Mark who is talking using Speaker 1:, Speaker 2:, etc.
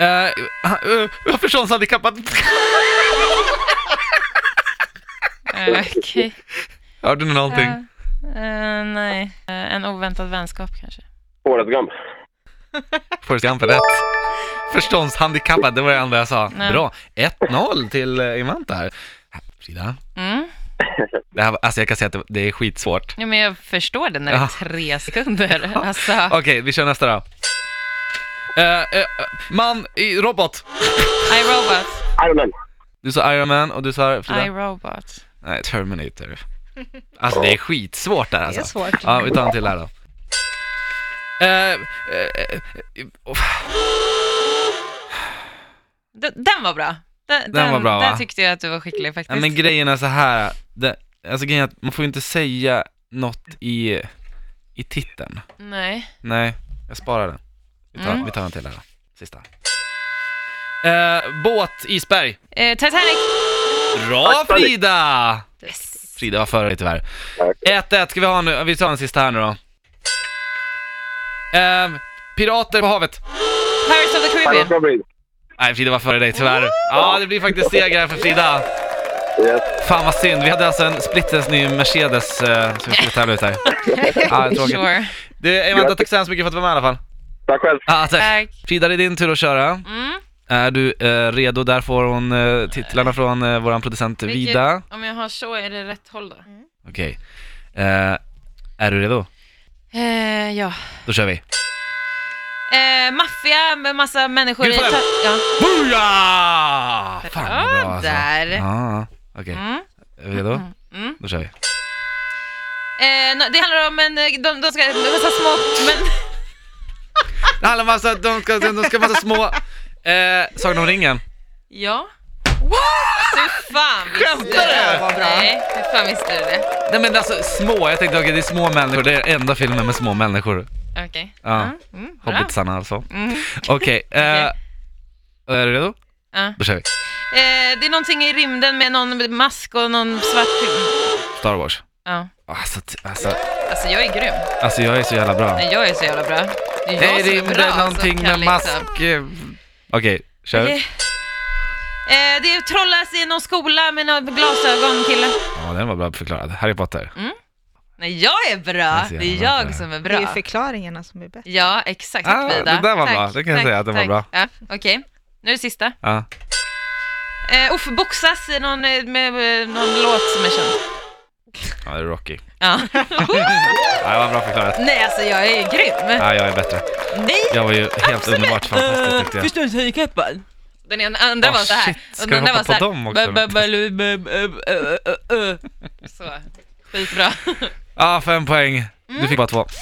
Speaker 1: Eh, eh, eh, förståndshandikappad.
Speaker 2: Eh, Okej.
Speaker 1: Hörde ni någonting?
Speaker 2: Ja. Eh, nej. Eh, en oväntad vänskap kanske.
Speaker 3: Forrest Gump.
Speaker 1: Forrest Gump är rätt. Förståndshandikappad, det var det enda jag sa.
Speaker 2: Nej.
Speaker 1: Bra. 1-0 till eh, Imanta här. Frida,
Speaker 2: Mm.
Speaker 1: det här, var- alltså jag kan säga att det, det är skitsvårt.
Speaker 2: Ja, men jag förstår det när det
Speaker 1: Ja.
Speaker 2: är tre sekunder. Alltså,
Speaker 1: Okej, vi kör nästa då. Eh, eh, man i robot.
Speaker 2: iRobot.
Speaker 3: Iron Man.
Speaker 1: Du sa Iron Man och du sa Frida?
Speaker 2: iRobot.
Speaker 1: Nej, Terminator. Alltså det är skitsvårt där alltså.
Speaker 2: Det är svårt.
Speaker 1: Ja, vi tar en till här då. Eh, eh, eh, oh,
Speaker 2: D- Den var bra. Den, den,
Speaker 1: var bra, va?
Speaker 2: Där tyckte jag att du var skicklig faktiskt.
Speaker 1: nej, men grejen är så här. Det, alltså grejen är att man får ju inte säga något i, i titeln.
Speaker 2: Nej.
Speaker 1: Nej, jag sparar den. Vi tar,
Speaker 2: Mm.
Speaker 1: vi tar en till här då. Sista. Eh, båt, isberg.
Speaker 2: Eh, Titanic.
Speaker 1: Bra Frida!
Speaker 2: Yes.
Speaker 1: Frida var före tyvärr.
Speaker 3: Tack.
Speaker 1: 1-1 ska vi ha nu, vi tar en sista här nu då. Eh, pirater på havet.
Speaker 2: Pirates of the
Speaker 3: Pirates
Speaker 2: Caribbean.
Speaker 3: of the Caribbean.
Speaker 1: Nej, Frida var före dig tyvärr. Ja, det blir faktiskt seger här för Frida.
Speaker 3: Yes.
Speaker 1: Fan vad synd, vi hade alltså en splitters ny Mercedes eh, som vi skulle tävla ut här. Ja, det är tråkigt.
Speaker 2: Sure.
Speaker 1: Du, Amanda, tack så hemskt mycket för att du var med i alla fall.
Speaker 3: Tack själv.
Speaker 1: Ja, tack.
Speaker 2: Tack.
Speaker 1: Frida, det är din tur att köra.
Speaker 2: Mm.
Speaker 1: Är du eh, redo? Där får hon eh, titlarna från eh, vår producent
Speaker 2: Vilket-
Speaker 1: Vida.
Speaker 2: Om jag har så, är det rätt håll då?
Speaker 1: Okej. Eh, är du redo?
Speaker 2: Eh, ja.
Speaker 1: Då kör vi.
Speaker 2: Eh, maffia med massa människor
Speaker 1: Gud,
Speaker 2: i...
Speaker 1: fan.
Speaker 2: ta- Ja.
Speaker 1: Booyah! Fan vad bra alltså.
Speaker 2: där.
Speaker 1: Ja, okej.
Speaker 2: Mm.
Speaker 1: Är vi redo?
Speaker 2: Mm.
Speaker 1: Då kör vi.
Speaker 2: Eh, nå- det handlar om en... eh, De, de ska... Massa små... Men...
Speaker 1: Det handlar om massa, de ska, de ska massa små... Eh, Sagan om ringen.
Speaker 2: Ja. Hur fan visste du
Speaker 1: Skämtar
Speaker 2: det?
Speaker 1: du?
Speaker 4: Vad bra.
Speaker 2: Nej, hur fan visste du det?
Speaker 1: Nej men alltså små, jag tänkte okej det är små människor, det är den enda filmen med små människor.
Speaker 2: Okej.
Speaker 1: Ja.
Speaker 2: Mm, Mm, bra.
Speaker 1: Hobbitsarna alltså.
Speaker 2: Mm.
Speaker 1: Okej, eh, är du redo?
Speaker 2: Ja.
Speaker 1: Då kör vi.
Speaker 2: Eh, det är någonting i rymden med någon mask och någon svart...
Speaker 1: Star Wars.
Speaker 2: Ja.
Speaker 1: Alltså, t- alltså,
Speaker 2: Alltså jag är grym.
Speaker 1: alltså jag är så jävla bra.
Speaker 2: Nej, jag är så jävla bra. Det är jag
Speaker 1: Nej,
Speaker 2: som
Speaker 1: det
Speaker 2: är
Speaker 1: är
Speaker 2: bra alltså.
Speaker 1: det någonting
Speaker 2: som
Speaker 1: med
Speaker 2: kan
Speaker 1: mask...
Speaker 2: Liksom.
Speaker 1: eh, Okej, kör.
Speaker 2: Okej. Eh, det trollas i någon skola med någon glasögonkille.
Speaker 1: Ja, den var bra förklarad. Harry Potter.
Speaker 2: Nej, jag är bra.
Speaker 1: Alltså, jag
Speaker 2: Det är
Speaker 1: är bra.
Speaker 2: jag som är
Speaker 4: Det är ju
Speaker 2: bra.
Speaker 4: förklaringarna som är bäst.
Speaker 2: Ja, exakt
Speaker 1: Ah,
Speaker 2: Frida.
Speaker 1: det där var
Speaker 2: Tack,
Speaker 1: bra. Det kan jag
Speaker 2: tack,
Speaker 1: säga att det var
Speaker 2: tack.
Speaker 1: bra.
Speaker 2: Ja, Okej, nu är det sista.
Speaker 1: Ja.
Speaker 2: Eh, uff, boxas i någon, eh, med, med någon låt som är känd.
Speaker 1: ja, det är Rocky.
Speaker 2: Ja.
Speaker 1: Ja, det var bra förklarat.
Speaker 2: Nej, alltså jag är grym.
Speaker 1: Ja, jag är bättre.
Speaker 2: Nej!
Speaker 1: Jag var ju helt underbart fantastisk tyckte jag.
Speaker 2: Förståndshandikappad. Den ena- andra
Speaker 1: Åh,
Speaker 2: var så här.
Speaker 1: Ah, shit.
Speaker 2: Och
Speaker 1: Ska
Speaker 2: den
Speaker 1: vi
Speaker 2: andra
Speaker 1: hoppa
Speaker 2: var så här.
Speaker 1: på dem också?
Speaker 2: ba- ba- lu- ba- ba- ö- ö- ö- ö. Så, skitbra.
Speaker 1: Ja, fem poäng. Du fick bara två.